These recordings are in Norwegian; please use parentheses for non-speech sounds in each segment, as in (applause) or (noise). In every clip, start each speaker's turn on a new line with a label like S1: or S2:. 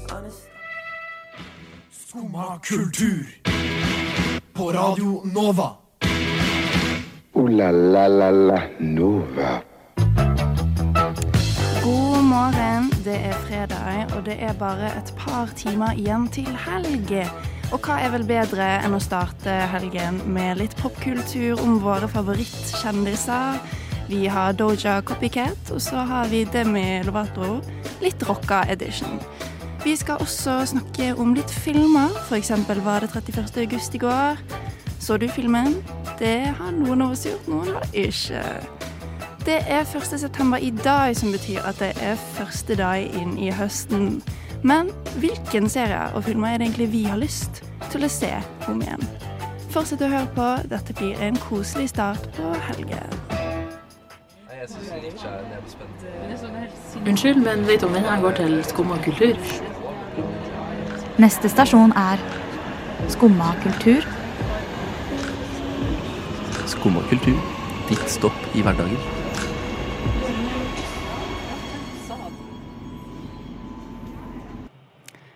S1: Johannes.
S2: Skumma kultur. På Radio Nova.
S3: Ooh la la la la Nova.
S4: God morgen, det er fredag, og det er bare et par timer igjen til helg. Og hva er vel bedre enn å starte helgen med litt popkultur om våre favorittkjendiser? Vi har Doja Copycat, og så har vi Demi Lovato, litt rocka edition. Vi skal også snakke om litt filmer, f.eks. var det 31. august i går. Så du filmen? Det har noen av oss gjort, noen har ikke. Det er 1. september i dag, som betyr at det er første dag inn i høsten. Men hvilken serie og filmer er det egentlig vi har lyst til å se om igjen? Fortsett å høre på. Dette blir en koselig start på helgen.
S5: Unnskyld, men vet om vinneren går til Skumma kultur?
S6: Neste stasjon er Skumma kultur.
S7: Skum og kultur. Ditt stopp i hverdagen.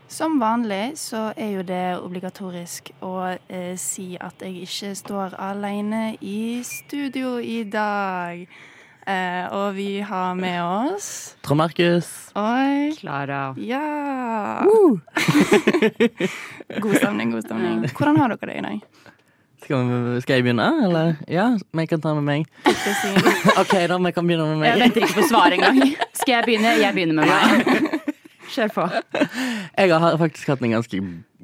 S4: Som vanlig så er jo det obligatorisk å eh, si at jeg ikke står alene i studio i dag. Eh, og vi har med oss
S7: Trond Markus.
S4: Oi.
S5: Klara.
S4: Ja! (laughs) god stemning, god stemning. Hvordan har dere det i dag?
S7: Skal, vi- skal jeg begynne, eller? Ja, men jeg kan ta med meg. (laughs)
S4: Ikke si-
S7: OK, da, vi kan begynne med
S5: Jeg
S7: meg.
S5: venter ikke på svar engang. Skal jeg begynne? Jeg begynner med meg. Kjør på.
S7: Jeg har faktisk hatt en ganske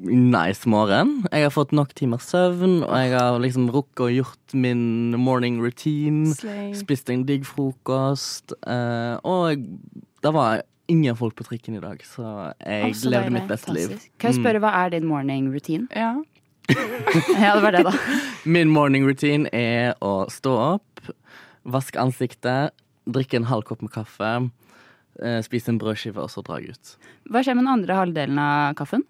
S7: nice morgen. Jeg har fått nok timers søvn, og jeg har liksom rukket og gjort min morning routine.
S4: Slay.
S7: Spist en digg frokost. eh, og jeg, det var ingen folk på trikken i dag, så
S4: Å,
S7: jeg
S4: så
S7: levde
S4: deilig.
S7: mitt beste liv.
S4: Fantastisk.
S5: Kan jeg spørre, hva er din morning routine?
S4: Ja.
S5: (laughs) Ja, det var det, da.
S7: Min morning routine er å stå opp, vaske ansiktet, drikke en halv kopp med kaffe, eh, spise en brødskive og så dra ut.
S5: Hva skjer med den andre halvdelen av kaffen?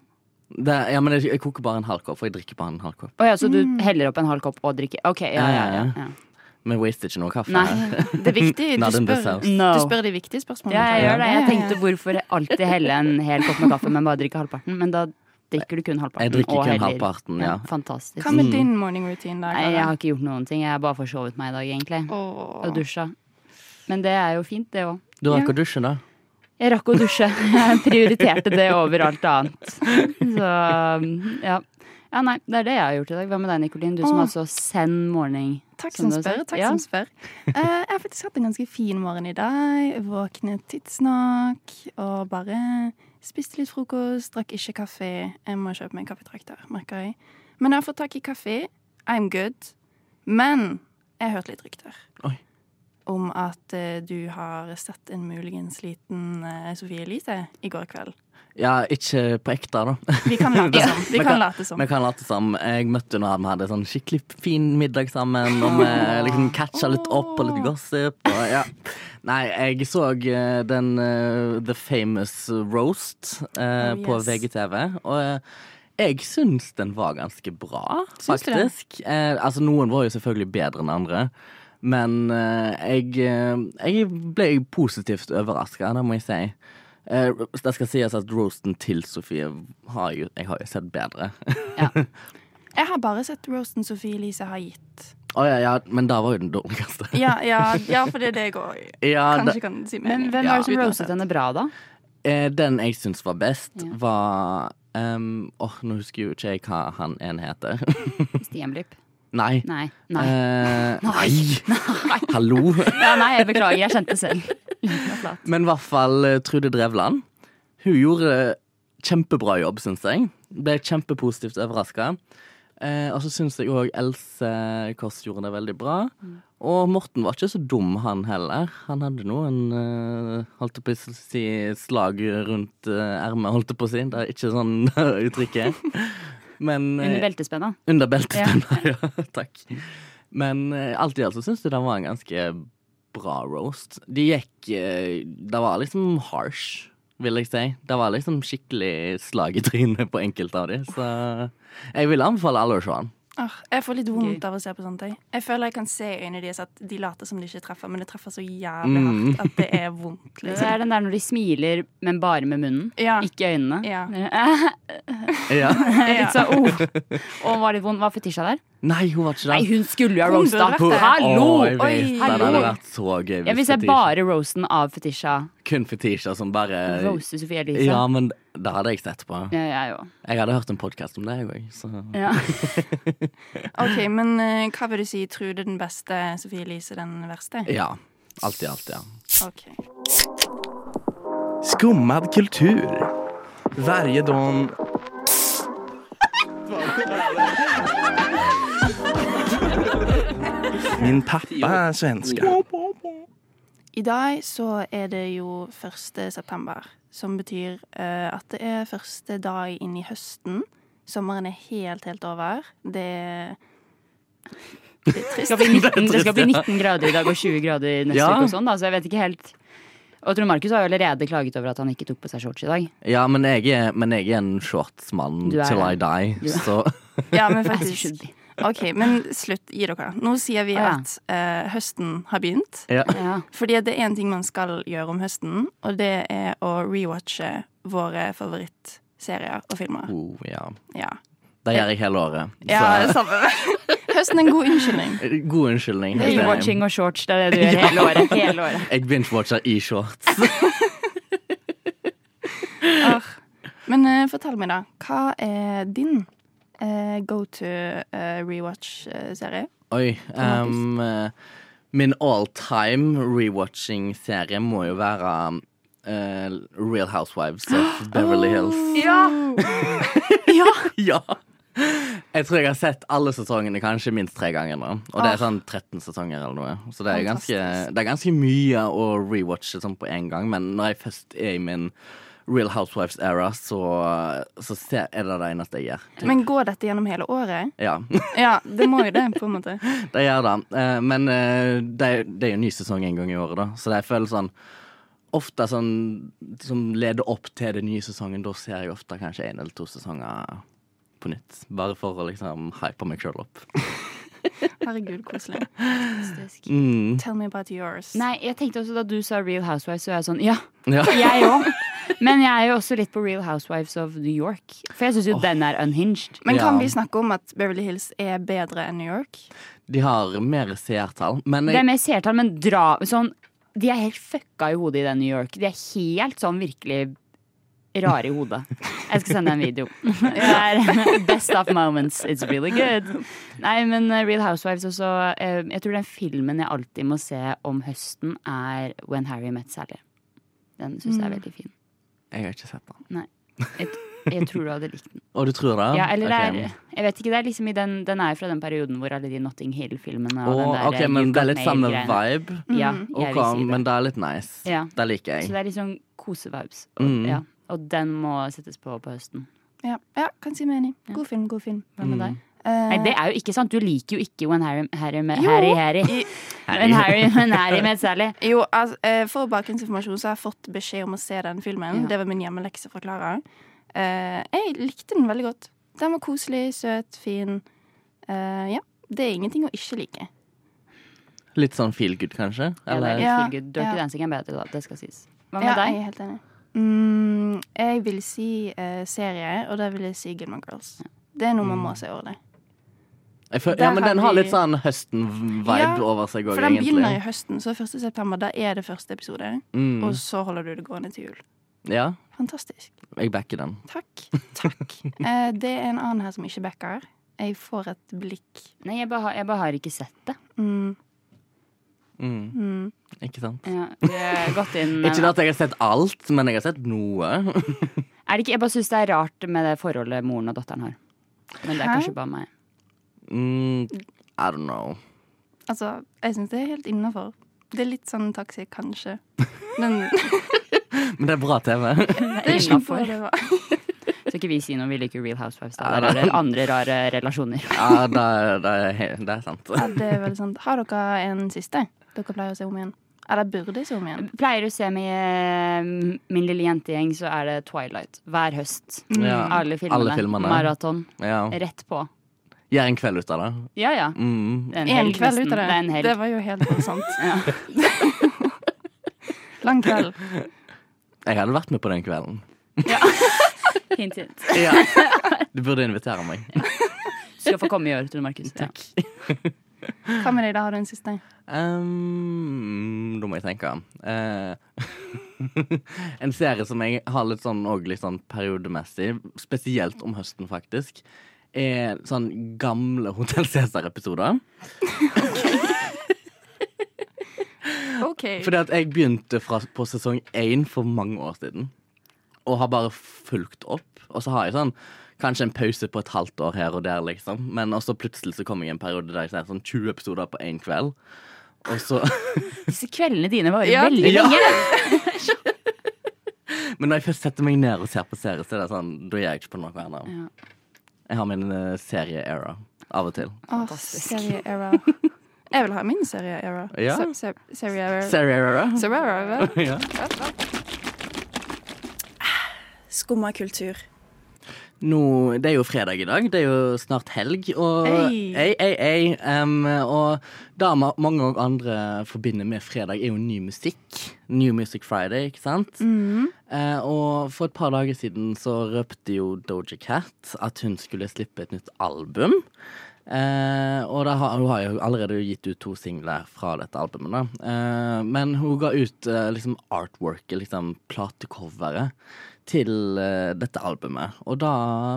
S7: Det, ja, men jeg, jeg koker bare en halv kopp, for jeg drikker bare en halv kopp.
S5: Å ja, så du heller opp en halv kopp og drikker? Ok, ja, Mm. ja, ja. ja.
S7: Vi waster ikke noe kaffe.
S5: Nei.
S4: Det er viktig. Du
S7: Not in the
S4: spør,
S7: south.
S5: No.
S4: du spør de viktige spørsmålene.
S5: Ja, jeg gjør det. Jeg
S4: Ja, ja, ja.
S5: tenkte hvorfor alltid helle en hel kopp med kaffe, men bare drikke halvparten. Men da drikker du kun halvparten.
S7: Jeg drikker
S5: og
S7: kun
S5: heller-
S7: halvparten, ja.
S5: Fantastisk.
S4: Hva
S7: Mm.
S4: med din morning routine der?
S5: Nei, jeg
S4: Klara?
S5: har ikke gjort noen ting. Jeg har bare forsovet meg i dag, egentlig.
S4: Åh.
S5: Og dusja. Men det er jo fint, det òg.
S7: Du rakk
S4: Ja.
S7: å dusje, da?
S5: Jeg rakk å dusje. Jeg prioriterte det over alt annet. Så ja. Ja, nei, Det er det jeg har gjort i dag. Hva med deg, Nikolin? Du som
S4: Åh.
S5: har så send morning.
S4: Takk som
S5: du har
S4: spør.
S5: sagt.
S4: takk
S5: ja.
S4: som spør. Eh, jeg har faktisk hatt en ganske fin morgen i dag. Jeg Våknet tidsnok og bare spiste litt frokost. Drakk ikke kaffe. Jeg må kjøpe meg en kaffetrakter, merker jeg. Men jeg har fått tak i kaffe. I'm good. Men jeg har hørt litt rykter
S7: Oi.
S4: om at eh, du har sett en muligens liten eh, Sofie Elise i går kveld.
S7: Ja, ikke på ekte, da.
S4: Vi kan late
S7: Ja,
S4: som. Vi
S7: vi
S4: kan
S7: kan-
S4: late som.
S7: Vi kan late som. Jeg møtte henne, og vi hadde en sånn skikkelig fin middag sammen. Og vi liksom catcha litt opp og litt gossip. Og, ja. Nei, jeg så eh, den eh, The Famous Roast eh,
S4: Oh,
S7: på
S4: yes.
S7: VGTV. Og eh, jeg syns den var ganske bra,
S4: Syns du det?
S7: faktisk. Eh, altså, noen var jo selvfølgelig bedre enn andre. Men eh, jeg, eh, jeg ble positivt overraska, det må jeg si. Eh, det skal sies at roasten til Sofie har jo, jeg har jo sett bedre.
S4: Jeg har bare sett roasten Sofie Elise har gitt.
S7: Å ja, ja, men da var jo den dårligste.
S4: Ja, ja, ja for det er det jeg går
S7: Ja, da-
S4: Kanskje kan si
S5: Men
S4: mening.
S5: hvem
S7: Ja,
S5: var det som
S7: uten å
S5: roastet henne bra, da?
S7: Eh, den jeg syns var best,
S5: Ja.
S7: var ehm, Åh, nå husker jo ikke jeg hva han ene heter. (laughs)
S5: Stienblipp?
S7: nei.
S5: Nei. Nei.
S7: Eh, nei. Hallo.
S5: Ja, nei, jeg beklager. Jeg kjente selv.
S7: Men i hvert fall eh, Trude Drevland. Hun gjorde eh, kjempebra jobb, syns jeg. Ble kjempepositivt overraska. Eh, og så syns jeg òg Else Kåss gjorde det veldig bra. Og Morten var ikke så dum, han heller. Han hadde noen eh, holdt jeg på å si slag rundt eh, ermet, holdt jeg på å si. Det er ikke sånn (laughs) uttrykket. Men
S5: Under
S7: eh,
S5: beltespenna.
S7: Under beltespenna, (laughs) ja. Takk. Men eh, alt i alt så syns jeg den var en ganske bra roast. De gikk eh, Det var liksom harsh, vil jeg si. Det var liksom skikkelig slag i trynet på enkelte av de, så jeg vil anbefale alle å se den.
S4: Åh, jeg får litt vondt av å se på sånt. Jeg. jeg føler jeg kan se i øynene deres at de later som de ikke treffer, men det treffer så jævlig
S7: Mm.
S4: hardt at det er
S5: (laughs)
S4: vondt.
S5: Det
S4: Liksom.
S5: er den der når de smiler, men bare med munnen.
S4: Ja.
S5: Ikke øynene.
S4: Ja.
S7: Ja.
S5: Litt sånn, oh. Og var litt vond. Var fetisja der?
S7: (laughs) Nei, hun var ikke
S5: Nei,
S7: der.
S5: hun skulle jo ha
S4: Hun
S5: roasta!
S4: burde vært der.
S5: Hallo!
S7: Å, jeg vet,
S4: Oi,
S7: det hadde
S4: hallo.
S7: vært så gøy
S5: Jeg vil se
S7: Fetisha-
S5: bare roasten av fetisja.
S7: Kun Fetisha som bare
S5: Rose Sofie Elise.
S7: Ja, men det hadde jeg sett på.
S5: liksom. Ja, jeg òg.
S7: Jeg hadde hørt en podkast om det, jeg òg. Så
S5: Ja.
S4: OK, men eh, hva vil du si? Trude den beste, Sofie Elise den verste?
S7: ja. Alt i alt, ja.
S4: Ok.
S1: Skummad kultur. Varje dag... Min pappa är svenska.
S4: I dag så er det jo 1. september, som betyr eh, at det er første dag inn i høsten. Sommeren er helt, helt over. Det er det er
S5: Det,
S4: trist.
S5: skal bli 19, det skal bli 19 grader i dag og 20 grader neste
S7: Ja.
S5: uke og sånn, da, så jeg vet ikke helt. Og Trond Markus har jo allerede klaget over at han ikke tok på seg shorts i dag.
S7: Ja, men jeg er, men jeg er en shortsmann
S5: Du er
S7: till I
S5: det.
S7: die,
S5: Du er-
S7: så
S5: (laughs)
S4: Ja, men
S5: As it should
S4: faktisk.
S5: be.
S4: OK, men slutt. Gi dere. Nå sier vi
S5: Å, ja.
S4: at eh, høsten har begynt.
S7: ja.
S5: Ja.
S4: Fordi det er én ting man skal gjøre om høsten, og det er å rewatche våre favorittserier og filmer.
S7: Oh, ja.
S4: Ja.
S7: Det gjør jeg hele året.
S4: ja
S7: Så
S4: samme. (laughs) Høsten er en god unnskyldning.
S7: god unnskyldning. helt enig.
S5: Watching og shorts, det er det du (laughs) gjør hele året. Hele året.
S7: Jeg binge-watcher i shorts.
S4: Arr. Men eh, fortell meg, da. Hva er din eh, go to eh, rewatch-serie?
S7: Oi. ehm, eh, min all time rewatching-serie må jo være eh, Real Housewives of Beverly Hills.
S5: Ja.
S7: (laughs) ja! Jeg tror jeg har sett alle sesongene kanskje minst tre ganger nå. Og det er sånn 13 sesonger eller noe. Så det er ganske,
S4: Fantastisk.
S7: det er ganske mye å rewatche sånn på én gang. Men når jeg først er i min Real Housewives-era, så, så ser, er det det eneste jeg gjør.
S4: Men går dette gjennom hele året?
S7: Ja.
S4: Ja, det må jo det, på en måte.
S7: Det gjør det. Eh, Men eh, det er, det er jo ny sesong en gang i året, da. Så det føles sånn Ofte sånn som leder opp til den nye sesongen, da ser jeg ofte kanskje én eller to sesonger på nytt. Bare for å liksom hype meg sjøl opp. (laughs)
S4: Herregud, koselig.
S7: Mm.
S4: Tell me about yours.
S5: Nei, jeg tenkte også da du sa Real Housewives, så er jeg sånn ja,
S7: Ja.
S5: jeg òg. (laughs) Men jeg er jo også litt på Real Housewives of New York. For jeg syns jo den er unhinged.
S4: Men kan
S7: Ja.
S4: vi snakke om at Beverly Hills er bedre enn New York?
S7: De har mer seertall, men
S5: Det er
S7: jeg,
S5: mer seertall, men dra sånn De er helt fucka i hodet i den New York. De er helt sånn virkelig rare i hodet. Jeg skal sende deg en
S7: (laughs)
S5: video. Det er best of moments. It's really good. Nei, men eh, Real Housewives også eh, Jeg tror den filmen jeg alltid må se om høsten, er When Harry Met Sally. Den syns
S7: Mm.
S5: jeg er veldig fin.
S7: jeg har ikke sett den.
S5: Jeg, jeg tror du hadde likt den.
S7: Og du tror det?
S5: Ja, eller det
S7: Ok.
S5: er, jeg vet ikke, det er liksom i den, den er jo fra den perioden hvor alle de Notting Hill-filmene og
S7: Å,
S5: den der
S7: OK,
S5: eh,
S7: men
S5: You've
S7: det
S5: Got
S7: er litt samme
S5: Mail-greiene.
S7: vibe. Mm.
S5: Ja, jeg
S7: Ok,
S5: vil si det.
S7: men det er litt nice.
S5: Ja.
S7: Det liker
S5: Så
S7: jeg.
S5: det er litt sånn kosevibes. Og,
S7: Mm.
S5: ja. og den må settes på på høsten.
S4: Ja, ja kan si meg enig. God film, god film.
S5: Hva med deg?
S4: Eh,
S5: Nei, det er jo ikke sant. Du liker jo ikke When Harry Harry med
S4: Jo.
S5: Harry Harry. When Harry, when Harry med Sally.
S4: Jo, altså, eh, For bakgrunnsinformasjon så har jeg fått beskjed om å se den filmen.
S5: Ja.
S4: Det var min hjemmelekse fra Klara. Eh, jeg likte den veldig godt. Den var koselig, søt, fin. Eh, ja. Det er ingenting å ikke like.
S7: Litt sånn feel good, kanskje?
S5: (laughs) Ja, det er
S7: Eller
S5: litt
S4: Ja,
S5: feel good. Dirty
S4: ja.
S5: Dancing er bedre, da. Det skal sies. Hva med
S4: Ja, jeg
S5: deg?
S4: er helt enig. Mm, jeg vil si eh, serie, og da vil jeg si Gilmore Girls. Det er noe
S7: Mm.
S4: man må se over det.
S7: Jeg føl-
S4: Der
S7: Ja, men
S4: har
S7: den har
S4: de-
S7: litt sånn høsten-vibe
S4: Ja,
S7: over seg òg,
S4: For den begynner
S7: egentlig.
S4: i høsten, så 1. september da er det første episode.
S7: Mm.
S4: Og så holder du det gående til jul.
S7: Ja,
S4: Fantastisk.
S7: jeg backer den.
S4: Takk. Takk.
S5: (laughs)
S4: Eh, det er en annen her som ikke backer. Jeg får et blikk.
S5: Nei, jeg bare, har- jeg bare har ikke sett det.
S4: Mm,
S7: Mm.
S4: mm.
S7: Ikke sant?
S5: Ja, det er gått inn (laughs)
S7: Ikke det at jeg har sett alt, men jeg har sett noe. (laughs)
S5: Er det ikke, Jeg bare syns det er rart med det forholdet moren og datteren har. Men det er
S4: Hæ?
S5: kanskje bare meg.
S7: Mm, I don't know.
S4: Altså, jeg syns det er helt innafor. Det er litt sånn taxi, kanskje.
S5: (laughs)
S4: Men
S7: Men det er bra
S4: (laughs)
S7: TV.
S5: Det
S4: det
S5: er
S4: er
S5: innenfor.
S4: kjempefor.
S5: Skal ikke vi si noe? Vi liker Real Housewives. Da. Der er det andre rare relasjoner.
S7: Ja, det, er- det, er he- det er sant.
S4: Ja, det er veldig sant. Har dere en siste dere pleier å se om igjen? Eller burde se om igjen?
S5: Pleier å se med eh, min lille jentegjeng, så er det Twilight. Hver høst.
S7: Ja.
S5: Alle filmene.
S7: Alle filmene.
S5: Maraton.
S7: Ja.
S5: Rett på.
S7: Gjør en kveld ut av det.
S5: Ja, ja.
S7: Mm.
S5: Det er
S4: En
S5: helg,
S4: kveld
S5: nesten.
S4: ut av
S5: Det er en
S4: det.
S5: helg.
S4: Det var jo helt sant.
S5: Ja.
S4: (laughs) Lang kveld.
S7: Jeg hadde vært med på den kvelden.
S5: Hint, (laughs) hint.
S4: (laughs)
S7: Du burde invitere meg.
S5: Skal få komme i år, Tone Markus. Takk.
S4: Hva med deg, da? Har du en siste?
S7: Um, da må jeg tenke. Eh, (laughs) en serie som jeg har litt sånn, og litt sånn periodemessig, spesielt om høsten, faktisk, er sånn gamle Hotell Cæsar-episoder.
S4: OK.
S7: Fordi at jeg begynte fra, på sesong én for mange år siden. Og har bare fulgt opp. Og så har jeg sånn kanskje en pause på et halvt år her og der, liksom. Men også plutselig så kom jeg i en periode der jeg ser sånn 20 episoder på én kveld. Og så,
S5: Disse kveldene dine varer
S4: Ja,
S5: veldig
S7: ja.
S5: lenge.
S7: men når jeg først setter meg ned og ser på serier, så er det sånn, da gjør jeg ikke på noe annet.
S5: Ja.
S7: Jeg har min eh, serie-era av og til.
S4: Åh, serie
S5: (laughs)
S4: era. Jeg vil ha min serie era.
S7: Ja.
S4: Se- se- Serie era.
S7: Serie-era?
S4: Serie era.
S7: Ja.
S4: Skumma kultur.
S7: Nå, det er jo fredag i dag, det er jo snart helg, og
S4: Ei.
S7: ei, ei, ei. em, Og det ma- mange og andre forbinder med fredag, er jo ny musikk. New Music Friday, ikke sant? Eh, og for et par dager siden så røpte jo Doja Cat at hun skulle slippe et nytt album. Eh, og da har, hun har jo allerede gitt ut to singler fra dette albumet. Da. Eh, men hun ga ut eh, liksom artworket, liksom platecoveret, til eh, dette albumet. Og da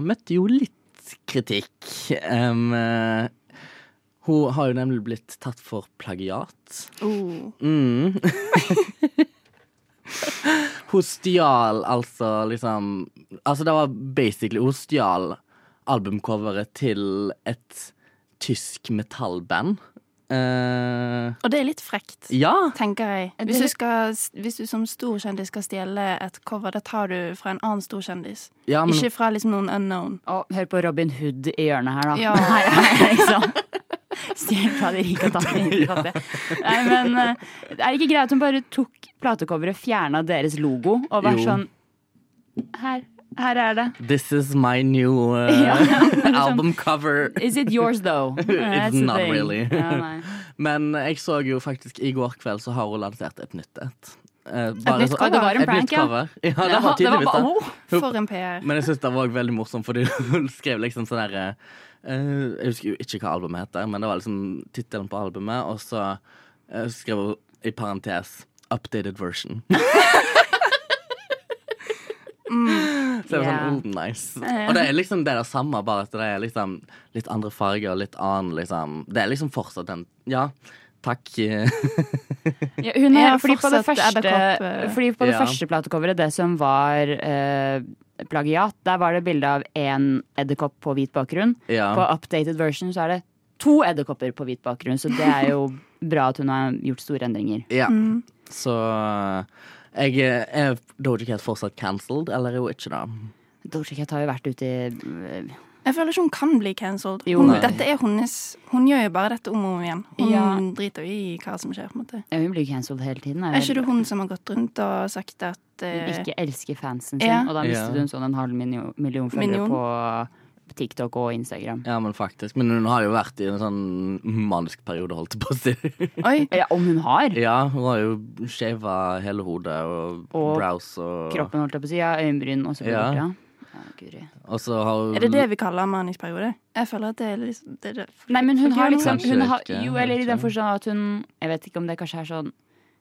S7: møtte jo litt kritikk. Em, eh, hun har jo nemlig blitt tatt for plagiat.
S4: Oh.
S7: Mm. (laughs) hun stjal altså liksom Altså, det var basically Hun stjal albumcoveret til et tysk metallband. Eh,
S4: Og det er litt frekt.
S7: ja!
S4: Tenker jeg.
S5: Er det-
S4: Hvis du, skal, hvis du som stor kjendis skal stjele et cover, da tar du fra en annen stor kjendis.
S7: ja men,
S4: Ikke fra liksom noen unknown.
S5: Og hør på Robin Hood i hjørnet her, da. (laughs)
S4: Ja.
S5: Her er jeg, liksom. Stjel fra de rike og ta fra de fattige. Nei, men eh, er det ikke greit at hun bare tok platecoveret, fjerna deres logo, og var
S7: Jo.
S5: sånn Her. Her er det.
S7: This is my new eh,
S5: (laughs) Ja,
S7: (laughs)
S5: liksom.
S7: album cover.
S5: Is it yours,
S7: (laughs)
S5: though? That's the
S7: not
S5: thing.
S7: really.
S5: Ja,
S4: (laughs)
S5: nei.
S7: Men jeg så jo faktisk i går kveld så har hun lansert et nytt et. Eh, bare
S4: nytt
S7: så-
S4: cover? Det var
S5: en
S7: Et
S5: prank,
S7: nytt
S5: ja.
S7: cover. ja. det
S5: Ja,
S7: var tydeligvis det.
S5: bare- oh.
S4: For en PR.
S7: Men jeg synes det var også veldig morsomt, fordi (laughs) hun skrev liksom sånn derre Jeg husker jo ikke hva albumet heter, men det var liksom tittelen på albumet, og så eh, skrev hun i parentes 'updated version'. (laughs) Så det var
S5: Ja.
S7: sånn old nice. Og det er liksom det der samme, bare at det er liksom litt andre farger og litt annen liksom Det er liksom fortsatt den Ja, takk. (laughs) eh,
S5: Ja, hun
S4: Ja,
S5: har, fordi på det
S4: fortsatt
S5: første,
S4: edderkopp, eh.
S5: fordi på det
S7: Ja.
S5: første platecoveret, det som var eh, plagiat, der var det bilde av én edderkopp på hvit bakgrunn.
S7: Ja.
S5: På updated version så er det to edderkopper på hvit bakgrunn, så det er
S7: (laughs)
S5: jo bra at hun har gjort store endringer.
S7: Ja.
S5: Mm.
S7: Så jeg eh, er Doja Cat fortsatt cancelled, eller er hun ikke det?
S5: Doja Cat har jo vært ute i eh,
S4: Jeg føler ikke hun kan bli cancelled.
S5: Jo,
S4: Hun,
S5: nei.
S4: dette er hennes Hun gjør jo bare dette om og om igjen. Hun
S5: Ja.
S4: driter jo i hva som skjer. på en måte
S5: ja, eh, Hun blir jo cancelled hele tiden.
S4: Er ikke det hun som har gått rundt og sagt at
S5: Hun
S4: eh,
S5: ikke elsker fansen sin,
S4: Ja.
S5: og da mistet
S7: Ja.
S5: hun sånn en halv million, million følgere
S4: Million.
S5: på TikTok og Instagram.
S7: Ja, men faktisk. Men hun har jo vært i en sånn manisk periode, holdt jeg på å
S5: (laughs)
S7: si.
S4: Oi,
S5: Ja, om hun har!
S7: Ja, hun har jo shava hele hodet og,
S5: Og
S7: brows og
S5: Kroppen, holdt jeg på å si. Ja, øyenbryn og så blir det
S7: Ja.
S5: borte, ja. ja guri.
S7: Og så har hun
S4: er det det vi kaller manisperiode? Jeg føler at det er liksom det er det.
S5: Nei, men hun
S4: Fordi
S5: har
S4: hun-
S5: liksom hun
S7: Kanskje
S5: har,
S7: ikke,
S5: Jo, eller i
S7: kanskje.
S5: den forstand at hun Jeg vet ikke om det kanskje er sånn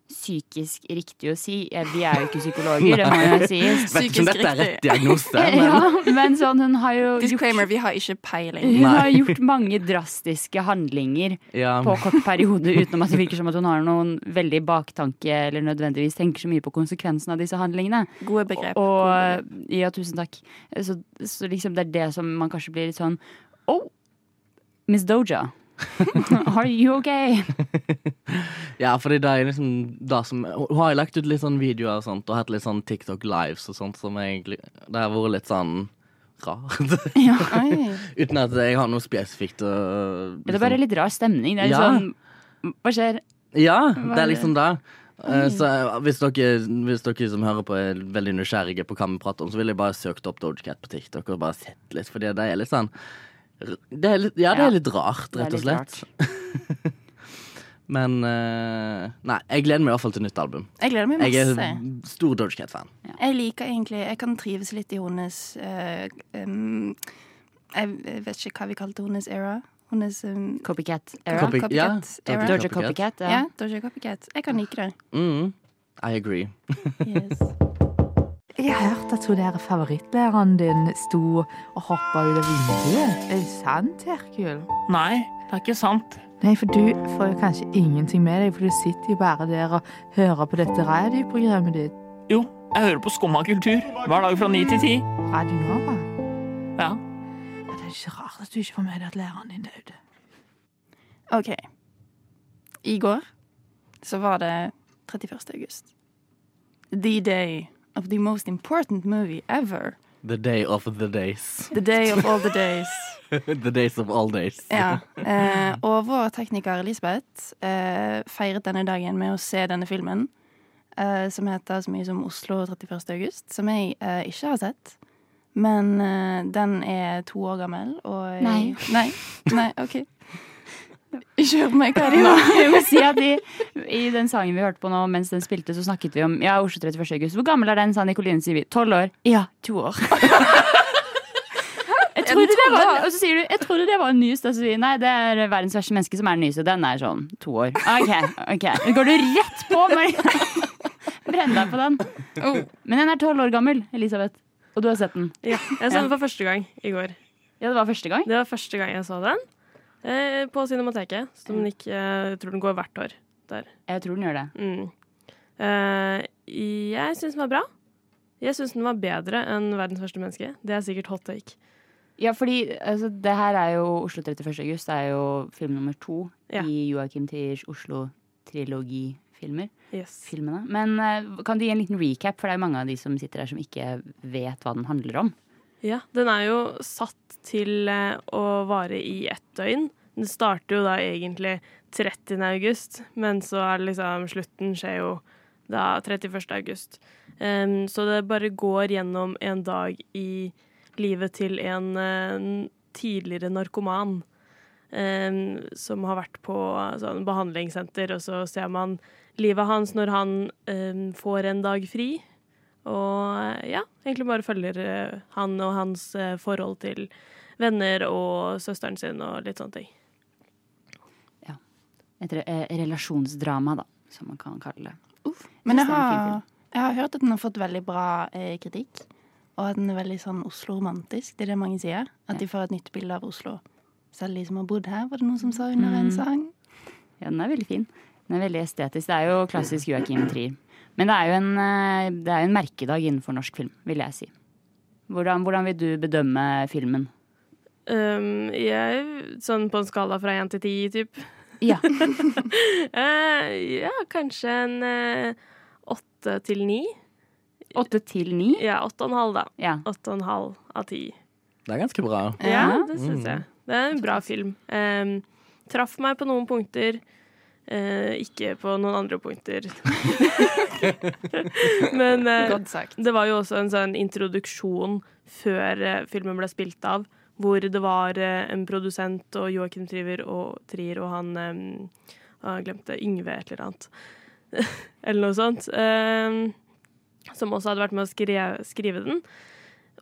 S5: psykisk riktig å si. Eh, Vi er jo ikke psykologer, det må jo
S7: (laughs)
S5: sies.
S7: Vet ikke om dette er rett
S4: psykisk
S5: (laughs)
S7: diagnose, men
S5: Ja, men sånn, hun har jo gjort,
S4: Disclaimer, vi har ikke peiling.
S5: hun har gjort mange drastiske handlinger
S7: ja.
S5: på kort periode, utenom at det virker som at hun har noen veldig baktanke, eller nødvendigvis tenker så mye på konsekvensen av disse handlingene.
S4: Gode begrep.
S5: Og ja, tusen takk. Så, så liksom det er det som man kanskje blir litt sånn Oh, Miss
S7: (laughs)
S5: Doja. Are you okay?
S7: ja, fordi det er liksom det som Hun har jo lagt ut litt sånn videoer og sånt, og hatt litt sånn TikTok lives og sånt som egentlig Det har vært litt sånn rart. (laughs)
S4: (laughs) Oi.
S7: Uten at jeg har noe spesifikt å
S5: Ja, Det er bare litt rar stemning. Det er litt
S7: Ja.
S5: sånn Hva skjer?
S7: Ja, det
S5: er
S7: er
S5: det?
S7: liksom det. Eh, Så hvis dere, hvis dere som hører på er veldig nysgjerrige på hva vi prater om, så ville jeg bare søkt opp Dogecat på TikTok og bare sett litt, fordi det er litt sånn Det er litt, ja, det
S5: Ja.
S7: er litt rart,
S5: Det er
S7: rett og
S5: litt
S7: slett. Men eh, Nei, jeg gleder meg i hvert fall til nytt album.
S4: Jeg gleder meg
S7: Jeg
S4: masse.
S7: er stor Doja Cat-fan.
S4: Jeg liker egentlig Jeg kan trives litt i hennes eh, em, jeg, jeg vet ikke hva vi kalte hennes era. Hennes em,
S5: Copycat
S4: Ja,
S5: era.
S7: Copy- ja,
S4: copycat era.
S5: Doja
S7: Doja Copycat.
S5: Copycat.
S4: ja,
S5: Ja.
S4: Doja Copycat. Jeg kan like det.
S7: Mm, I agree.
S4: Yes.
S6: Jeg hørte at hun der favorittlæreren din sto og hoppa ut av vinduet. Er det sant, Herkul?
S8: Nei, det er ikke sant.
S6: Nei, for du får jo kanskje ingenting med deg, for du sitter jo bare der og hører på dette radioprogrammet ditt.
S8: Jo, jeg hører på Skumma kultur hver dag fra ni til ti.
S6: Radio Nova.
S8: Ja.
S6: Ja, Det er ikke rart at du ikke får med deg at læreren din døde.
S4: OK. I går så var det 31. august. The day of the most important movie ever.
S7: The day of the days. (laughs)
S4: The day of all the days. (laughs)
S7: the days of all days.
S4: Ja. Eh, og vår tekniker Elisabeth eh, feiret denne dagen med å se denne filmen, eh, som heter så mye som Oslo 31. august, som jeg eh, ikke har sett. Men eh, den er to år gammel, og
S5: Nei.
S4: Nei, nei OK. Ikke hør på meg, hva er det nå?
S5: Jeg må si at i, I den sangen vi hørte på nå mens den spilte, så snakket vi om Ja, Oslo 31. august. Hvor gammel er den? sa Nikoline Sivi. Tolv år. Ja, to år. Jeg trodde det var, og så sier du jeg trodde det var en nyeste. Så sier jeg, nei, det er verdens verste menneske som er den nyeste. Den er sånn to år. Ok, ok. Nå går du rett på meg! (laughs) Brenn deg på den. Men den er tolv år gammel, Elisabeth. Og du har sett den.
S9: Ja, jeg så den for første gang i går.
S5: Ja, det var første gang.
S9: Det var første gang jeg så den eh, på Cinemateket, som den ikke Jeg tror den går hvert år der.
S5: Jeg tror den gjør det.
S9: Mm. Eh, jeg syns den var bra. Jeg syns den var bedre enn Verdens verste menneske. Det er sikkert hot take.
S5: Ja, fordi altså, det her er jo Oslo 31. august er jo film nummer to
S9: Ja.
S5: i Joakim Tiers Oslo-trilogifilmer.
S9: Yes.
S5: Filmene. Men eh, kan du gi en liten recap, for det er mange av de som sitter her som ikke vet hva den handler om.
S9: Ja, den er jo satt til eh, å vare i ett døgn. Den starter jo da egentlig 30. august, men så er det liksom slutten skjer jo da 31. august. Em, så det bare går gjennom en dag i livet til en eh, n- tidligere narkoman. em, som har vært på eh, sånn behandlingssenter, og så ser man livet hans når han em, får en dag fri. Og ja, egentlig bare følger eh, han og hans eh, forhold til venner og søsteren sin og litt sånne ting.
S5: Et re eh, relasjonsdrama, da, som man kan kalle det.
S4: Men jeg
S5: Synes det er en fin
S4: har, jeg har hørt at den har fått veldig bra eh, kritikk. Og at den er veldig sånn Oslo-romantisk. Det er det mange sier. At de får et nytt bilde av Oslo. Selv de som har bodd her, var det noen som sa
S5: Mm.
S4: under en sang.
S5: Ja, den er veldig fin. Den er veldig estetisk. Det er jo klassisk Joakim Trier. Men det er jo en, eh, det er jo en merkedag innenfor norsk film, vil jeg si. Hvordan, hvordan vil du bedømme filmen?
S9: Um, jeg, sånn på en skala fra én til ti, typ.
S5: Ja.
S9: (laughs) Eh, ja, kanskje en eh, åtte til ni.
S5: Åtte til ni?
S9: Ja, åtte og en halv, da.
S5: Ja.
S9: Åtte og en halv av ti.
S7: Det er ganske bra.
S9: Ja, det syns jeg. Det er en bra film. Um, traff meg på noen punkter. eh, ikke på noen andre punkter. (laughs) Men eh,
S4: Godt sagt.
S9: Det var jo også en sånn introduksjon før eh, filmen ble spilt av, hvor det var eh, en produsent og Joakim Trier og, Trier og han eh, ah, Jeg glemte Yngve et eller annet. (laughs) eller noe sånt. eh, som også hadde vært med å skrive, skrive den.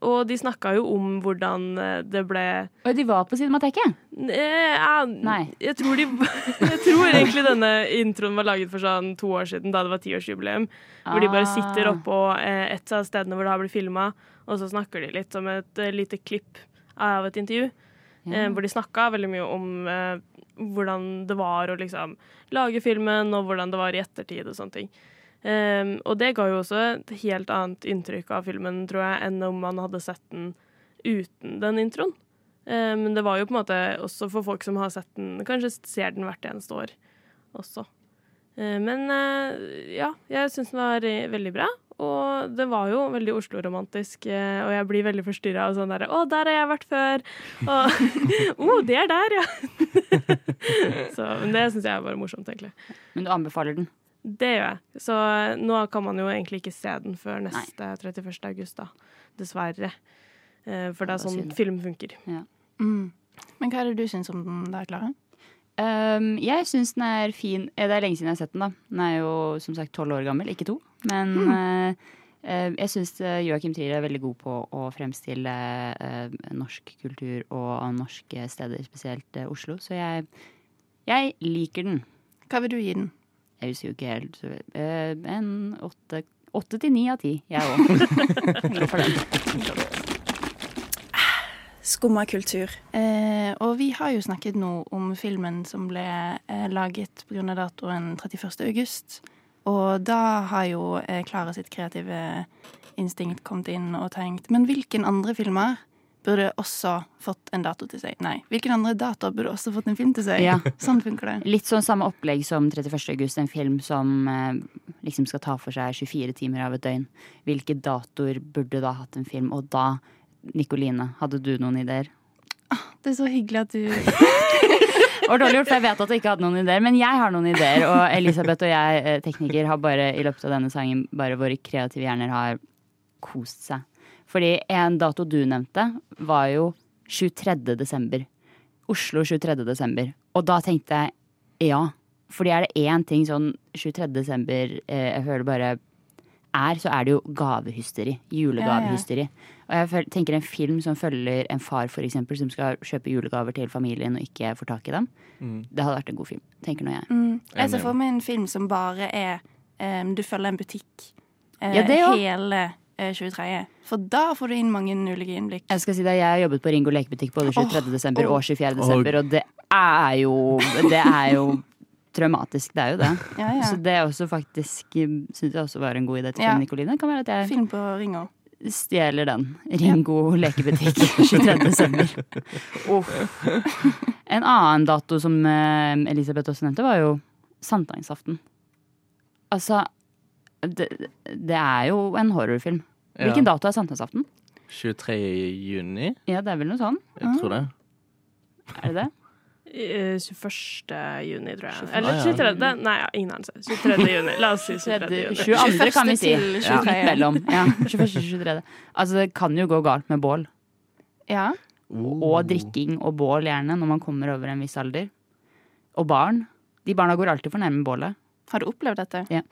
S9: Og de snakka jo om hvordan eh, det ble
S5: Og de var på Cinemateket!
S9: Eh, ja,
S5: Nei.
S9: Jeg tror, de, (laughs) jeg tror egentlig denne introen var laget for sånn to år siden, da det var tiårsjubileum. Hvor de bare
S5: Ah.
S9: sitter oppå eh, et av stedene hvor det har blitt filma, og så snakker de litt om et eh, lite klipp av et intervju. Eh, hvor de snakka veldig mye om eh, hvordan det var å liksom lage filmen, og hvordan det var i ettertid og sånne ting. Eh, og det ga jo også et helt annet inntrykk av filmen, tror jeg, enn om man hadde sett den uten den introen. Eh, Men det var jo på en måte også for folk som har sett den, kanskje ser den hvert eneste år også. Eh, Men eh, ja, jeg syns den var eh, veldig bra. Og det var jo veldig Oslo-romantisk, eh, og jeg blir veldig forstyrra av sånn derre 'Å, der har jeg vært før!' Og (laughs) 'Å, det er der, ja!' (laughs) Så, men det syns jeg er bare morsomt, egentlig.
S5: Men du anbefaler den?
S9: Det gjør jeg. Så eh, nå kan man jo egentlig ikke se den før neste 31. august, da. Dessverre. Eh,
S5: det
S9: For det er
S5: var
S9: sånn
S5: synd.
S9: film funker.
S4: Mm. Men hva er det du syns om den der, Klara?
S5: Um, jeg syns den er fin. Eh, Det er lenge siden jeg har sett den. da Den er jo som sagt tolv år gammel, ikke to. Men
S9: Hmm.
S5: eh, eh, jeg syns Joakim Trier er veldig god på å fremstille eh, norsk kultur og norske steder, spesielt eh, Oslo. Så jeg, jeg liker den.
S4: Hva vil du gi den?
S5: Jeg husker jo ikke helt så vel. Eh, En åtte, åtte til ni av ti, jeg òg.
S9: (laughs)
S10: Skumma kultur.
S4: Eh, og vi har jo snakket nå om filmen som ble eh, laget pga. datoen 31. august. Og da har jo eh, Klara sitt kreative instinkt kommet inn og tenkt Men hvilken andre filmer burde også fått en dato til seg? Nei, hvilken andre dato burde også fått en film til seg?
S5: Ja.
S4: (laughs) Sånn funker det.
S5: Litt sånn samme opplegg som 31. august, en film som eh, liksom skal ta for seg 24 timer av et døgn. Hvilke datoer burde da hatt en film? Og da, Nikoline, hadde du noen ideer?
S4: Det er så hyggelig at du
S5: Det var dårlig gjort, for jeg vet at du ikke hadde noen ideer, men jeg har noen ideer. Og Elisabeth og jeg, eh, tekniker, har bare i løpet av denne sangen bare våre kreative hjerner har kost seg. Fordi en dato du nevnte, var jo 23. desember. Oslo 23. desember. Og da tenkte jeg ja. Fordi er det én ting sånn 23. desember eh, jeg føler bare er, så er det jo gavehysteri. Julegavehysteri. Og jeg føl- tenker en film som følger en far for eksempel, som skal kjøpe julegaver til familien og ikke får tak i dem, det hadde vært en god film. Tenker nå jeg.
S4: Mm. Jeg ser for meg en film som bare er em, Du følger en butikk eh,
S5: Ja, det òg.
S4: hele eh, 23. For da får du inn mange ulike innblikk.
S5: Jeg skal si deg, jeg har jobbet på Ringo lekebutikk både 23. desember og 24.
S7: Åh.
S5: desember, og det er jo Det er jo traumatisk, det er jo det.
S4: Ja, ja.
S5: Så det er også faktisk syns jeg også var en god idé til
S4: Ja.
S5: Nikoline. Det kan være at
S4: Film på Ringo.
S5: jeg stjeler den. Ringo lekebutikk 23. desember. Uff. En annen dato som eh, Elisabeth også nevnte, var jo sankthansaften. Altså det, det er jo en horrorfilm.
S7: Ja.
S5: Hvilken dato er sankthansaften?
S7: 23. juni,
S5: Ja, det er vel noe sånn?
S7: jeg tror det.
S5: Er det det?
S9: Eh, 21. juni, tror jeg.
S7: Ah,
S9: Eller
S7: ja.
S9: 23. Nei, ja, ingen anelse. 23. juni. La oss si 23. juni.
S5: 22. kan vi si.
S4: 21. til
S5: Ja.
S4: 23.
S5: Midt mellom. Ja. 21. 23. Altså, det kan jo gå galt med bål.
S4: Ja.
S5: Og drikking og bål gjerne når man kommer over en viss alder. Og barn. De barna går alltid for nærme bålet.
S4: Har du opplevd dette?
S5: Det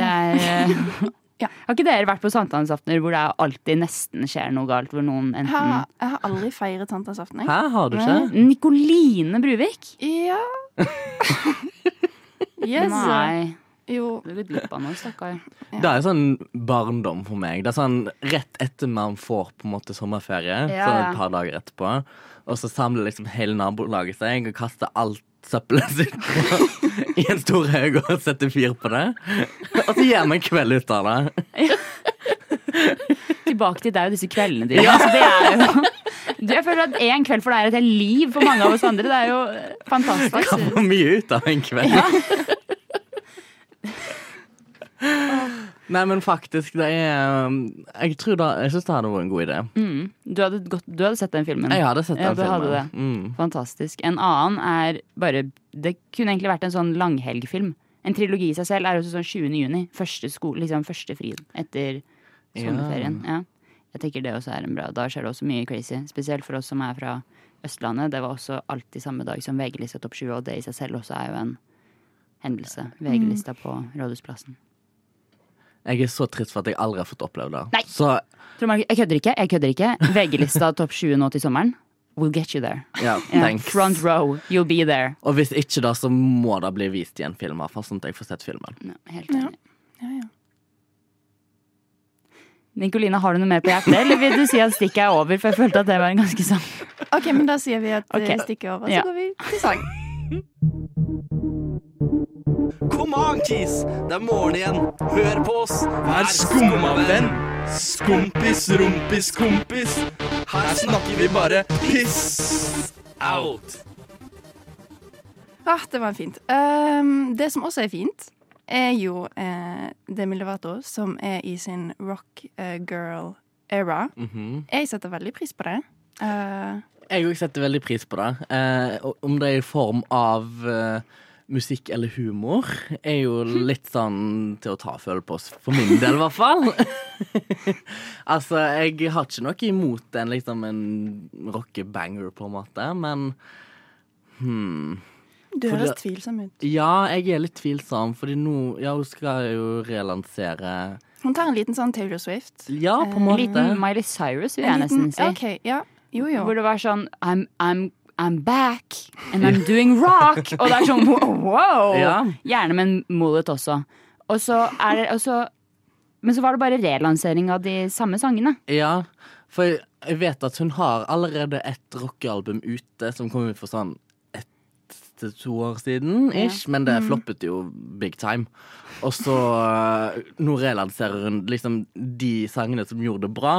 S5: er, eh,
S4: Ja.
S5: Har ikke dere vært på sankthansaftener hvor det alltid nesten skjer noe galt? Hvor noen
S4: Jeg
S5: enten
S4: har, jeg har aldri feiret sankthansaften. jeg.
S7: Hæ, har du ikke?
S5: Nikoline Bruvik? (laughs)
S4: Ja. yes.
S5: Nei.
S4: Jo.
S5: Det er litt lippa nå, stakkar.
S7: Det er jo sånn barndom for meg. Det er sånn Rett etter man får på en måte sommerferie,
S5: Ja,
S7: sånn
S5: ja.
S7: et par dager etterpå, og så samler liksom hele nabolaget seg og kaster alt søppelet (laughs) sitt på, i en stor haug og setter fyr på det. Og så gjør vi en kveld ut av det.
S5: Tilbake til deg og disse kveldene dine. Altså, det er jo Du, Jeg føler at én kveld for deg er et helt liv for mange av oss andre. Det er jo eh, fantastisk.
S7: Hva får mye ut av en kveld? Nei, men faktisk, det er um, Jeg tror da, jeg syns det hadde vært en god idé.
S5: Mm. Du, hadde gått, du hadde sett den filmen?
S7: Jeg hadde sett den
S5: Mm. Ja, du hadde
S7: filmen.
S5: det.
S7: Mm.
S5: Fantastisk. En annen er bare Det kunne egentlig vært en sånn langhelgfilm. En trilogi i seg selv er også sånn 20. juni. Første, sko, liksom første fri etter sommerferien. Ja. Jeg tenker det også er en bra Da skjer det også mye crazy. Spesielt for oss som er fra Østlandet. Det var også alltid samme dag som VG-lista Topp 20, og det i seg selv også er jo en hendelse. VG-lista på Rådhusplassen.
S7: Jeg er så trist for at jeg aldri har fått opplevd det.
S5: Nei.
S7: Så
S5: Tror du, Markus- jeg kødder ikke. jeg kødder ikke VG-lista Topp 20 nå til sommeren. We'll get you
S7: (laughs)
S5: there.
S7: ja,
S5: Ja,
S7: thanks.
S5: Front row, you'll be there.
S7: Og hvis ikke da, så må det bli vist i en film, i hvert fall, sånn at jeg får sett filmen.
S5: Ja, helt enig.
S4: Ja, ja.
S5: Nicoline, har du noe mer på hjertet, eller vil du si at stikket er over? For jeg følte at det var en ganske sånn
S4: OK, men da sier vi at
S5: Ok.
S4: okay. stikket er over, så
S5: Ja.
S4: går vi til sang.
S2: Kom an, Kis! Det er morgen igjen. Hør på oss.
S1: Vær skumma venn. Skompis, rompis, kompis.
S2: Her snakker vi bare piss. Out.
S4: Ah, det var fint. Ehm, det som også er fint, er jo eh, Demi Lovato, som er i sin rock eh, girl era. Jeg setter veldig pris på det. Eh,
S7: Jeg òg setter veldig pris på det. Eh, og om det er i form av eh, musikk eller humor er jo litt sånn til å ta og føle på, s- for min del i hvert fall. (laughs) altså, jeg har ikke noe imot en, liksom, en rockebanger, på en måte, men hmm.
S4: Du
S7: For
S4: høres
S7: det-
S4: tvilsom ut.
S7: Ja, jeg er litt tvilsom, fordi nå Ja, hun skal jo relansere
S4: Hun tar en liten sånn Taylor Swift.
S7: Ja, på en
S5: En
S7: måte.
S5: Eh, liten Miley Cyrus vil jeg
S4: En liten-
S5: nesten si.
S4: Ok, ja. Jo, jo.
S5: Hvor det var sånn I'm, I'm, I'm back and I'm doing rock. Og det er sånn wow!
S7: Ja.
S5: Gjerne med en mullet også. Og så er det og så- Men så var det bare relansering av de samme sangene.
S7: Ja, for jeg- jeg vet at hun har allerede et rockealbum ute som kom ut for sånn ett til to år siden, ish. Men det floppet jo big time. Og så eh, nå relanserer hun liksom de sangene som gjorde det bra,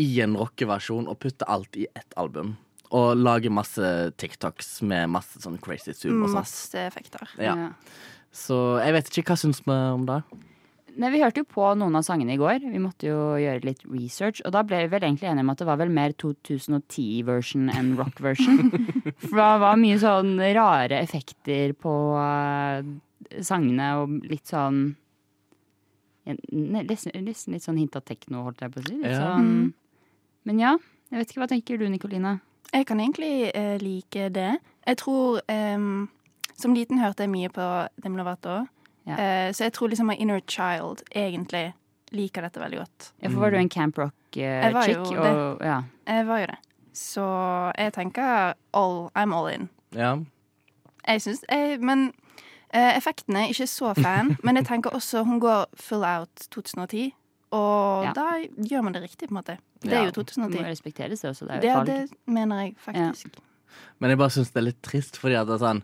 S7: i en rockeversjon, og putter alt i ett album. Og lager masse TikToks med masse sånn crazy zoom og sånn.
S4: Masse effekter.
S7: Ja. Så jeg vet ikke hva syns vi om det.
S5: Nei, Vi hørte jo på noen av sangene i går. Vi måtte jo gjøre litt research. Og da ble vi vel egentlig enige om at det var vel mer 2010-version enn rock-version. For det var mye sånn rare effekter på eh, sangene og litt sånn ja, ne- Nesten nesten litt sånn hint av tekno, holdt jeg på å si. Litt
S7: Ja.
S5: sånn, men ja. Jeg vet ikke, Hva tenker du, Nikoline?
S4: Jeg kan egentlig eh, like det. Jeg tror ehm, Som liten hørte jeg mye på Demi Lovato.
S5: Ja.
S4: Eh, så jeg tror liksom my inner child egentlig liker dette veldig godt.
S5: Ja, for Var du en camp rock-chick?
S4: var jo det.
S5: Ja.
S4: Eh, Jeg var jo det. Så jeg tenker all, I'm all in.
S7: Ja.
S4: Jeg syns jeg, Men eh, effektene er ikke så
S5: (laughs)
S4: fan. men jeg tenker også hun går full out 2010. Og
S5: Ja.
S4: da gjør man det riktig, på en måte. Det er
S7: Ja,
S4: jo
S5: Det må
S4: 2010.
S5: respekteres, det også. Det er jo
S4: Det,
S5: et valg.
S4: det mener jeg faktisk.
S7: Men jeg bare syns det er litt trist, fordi at det er sånn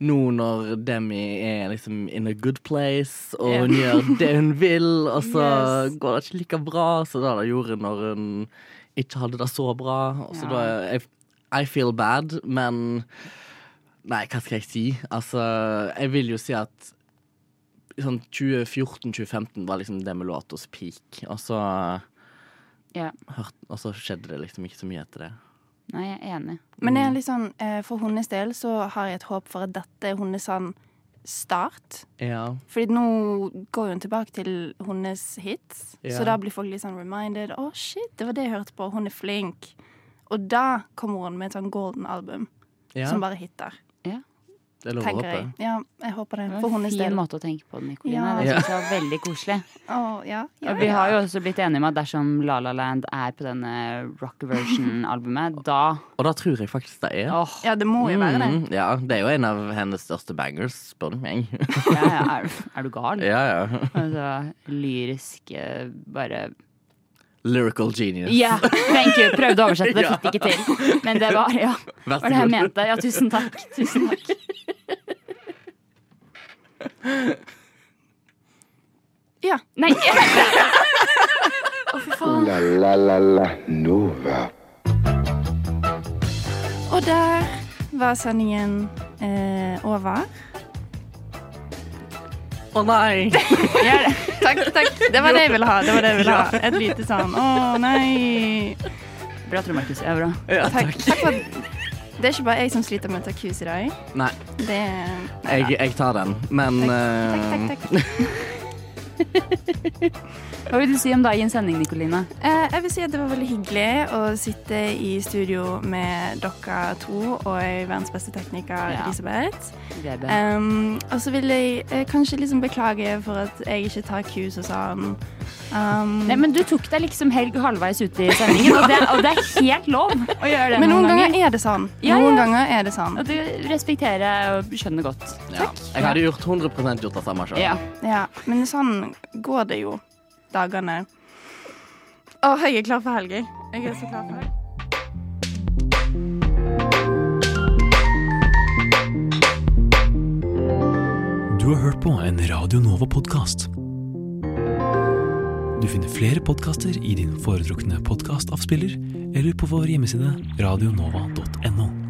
S7: nå når Demi er liksom in a good place, og hun gjør det
S4: (laughs)
S7: hun vil, og så
S4: Yes.
S7: går det ikke like bra som det det gjorde når hun ikke hadde det så bra. Og så
S5: Ja.
S7: da jeg, I feel bad, men Nei, hva skal jeg si? Altså, jeg vil jo si at sånn 2014-2015 var liksom Demi Lovatos peak, og så
S5: Ja.
S7: hørt, Og så skjedde det liksom ikke så mye etter det.
S5: Nei, jeg er enig.
S4: Men jeg er litt sånn, eh, for hennes del så har jeg et håp for at dette er hennes sånn start.
S7: Ja.
S4: Fordi nå går hun tilbake til hennes hits,
S7: Ja.
S4: så da blir folk litt sånn reminded. Å, shit, det var det jeg hørte på. Hun er flink. Og da kommer hun med et sånn golden album
S7: ja.
S4: som bare hitter,
S7: Det er lov å
S4: tenker
S7: håpe.
S4: jeg. Ja, jeg håper det.
S5: Det var
S4: For
S5: en
S4: hennes
S5: fin
S4: del.
S5: måte å tenke på det, Nikoline.
S4: Ja.
S5: Det synes jeg var veldig koselig.
S4: Å, ja, ja,
S5: Og vi har
S4: ja.
S5: jo også blitt enige om at dersom La La Land er på denne rock version-albumet, da
S7: Og da tror jeg faktisk det er.
S5: åh,
S4: ja, det må jo være det.
S7: Mm, ja, det er jo en av hennes største bangers, spør
S4: (laughs)
S7: du meg.
S5: ja, ja, er, er du gal?
S7: ja, ja.
S5: Altså, lyrisk eh, bare
S7: Lyrical genius.
S5: Ja, thank you! Prøvde å oversette, det fikk det ikke til. Men det var, ja,
S7: Vær
S5: var det jeg mente. Ja, tusen takk. Tusen takk.
S4: Ja.
S5: Nei!
S3: Ooh la la la la Nova.
S4: Og der var sendingen eh, over.
S7: Å nei!
S4: Ja, det- takk, takk. Det var det jeg ville ha. Det var det jeg ville ha. Et lite sånn å nei.
S5: Bra, Trond Markus. Ja, bra.
S7: Ja,
S4: Takk, takk for Det er ikke bare jeg som sliter med å ta kus i dag.
S7: Nei,
S4: Det er
S7: jeg, jeg tar den, men
S4: Takk, takk,
S7: eh,
S4: takk.
S5: (laughs)
S4: takk.
S5: Hva vil du si om dagens sending, Nikoline?
S4: Eh, Jeg vil si at det var veldig hyggelig å sitte i studio med dere to og verdens beste tekniker
S5: Ja.
S4: Elisabeth.
S5: Rebe.
S4: Um, og så vil jeg eh, kanskje liksom beklage for at jeg ikke tar kus og sånn. Um,
S5: Nei, men du tok deg liksom helg halvveis ute i sendingen, og det, og det er helt lov å gjøre det
S4: men noen ganger er det sånn.
S5: Ja, ja.
S4: Noen ganger er det sånn.
S5: Og du respekterer jeg og skjønner godt.
S7: ja. Jeg hadde gjort 100 gjort det samme sjøl.
S5: Ja.
S4: Ja, men sånn går det jo dagene. Å, jeg er klar for helg. jeg. Jeg er så klar for helg.
S2: Du har hørt på en Radio Nova-podkast. Du finner flere podkaster i din foretrukne podkastavspiller eller på vår hjemmeside radionova.no.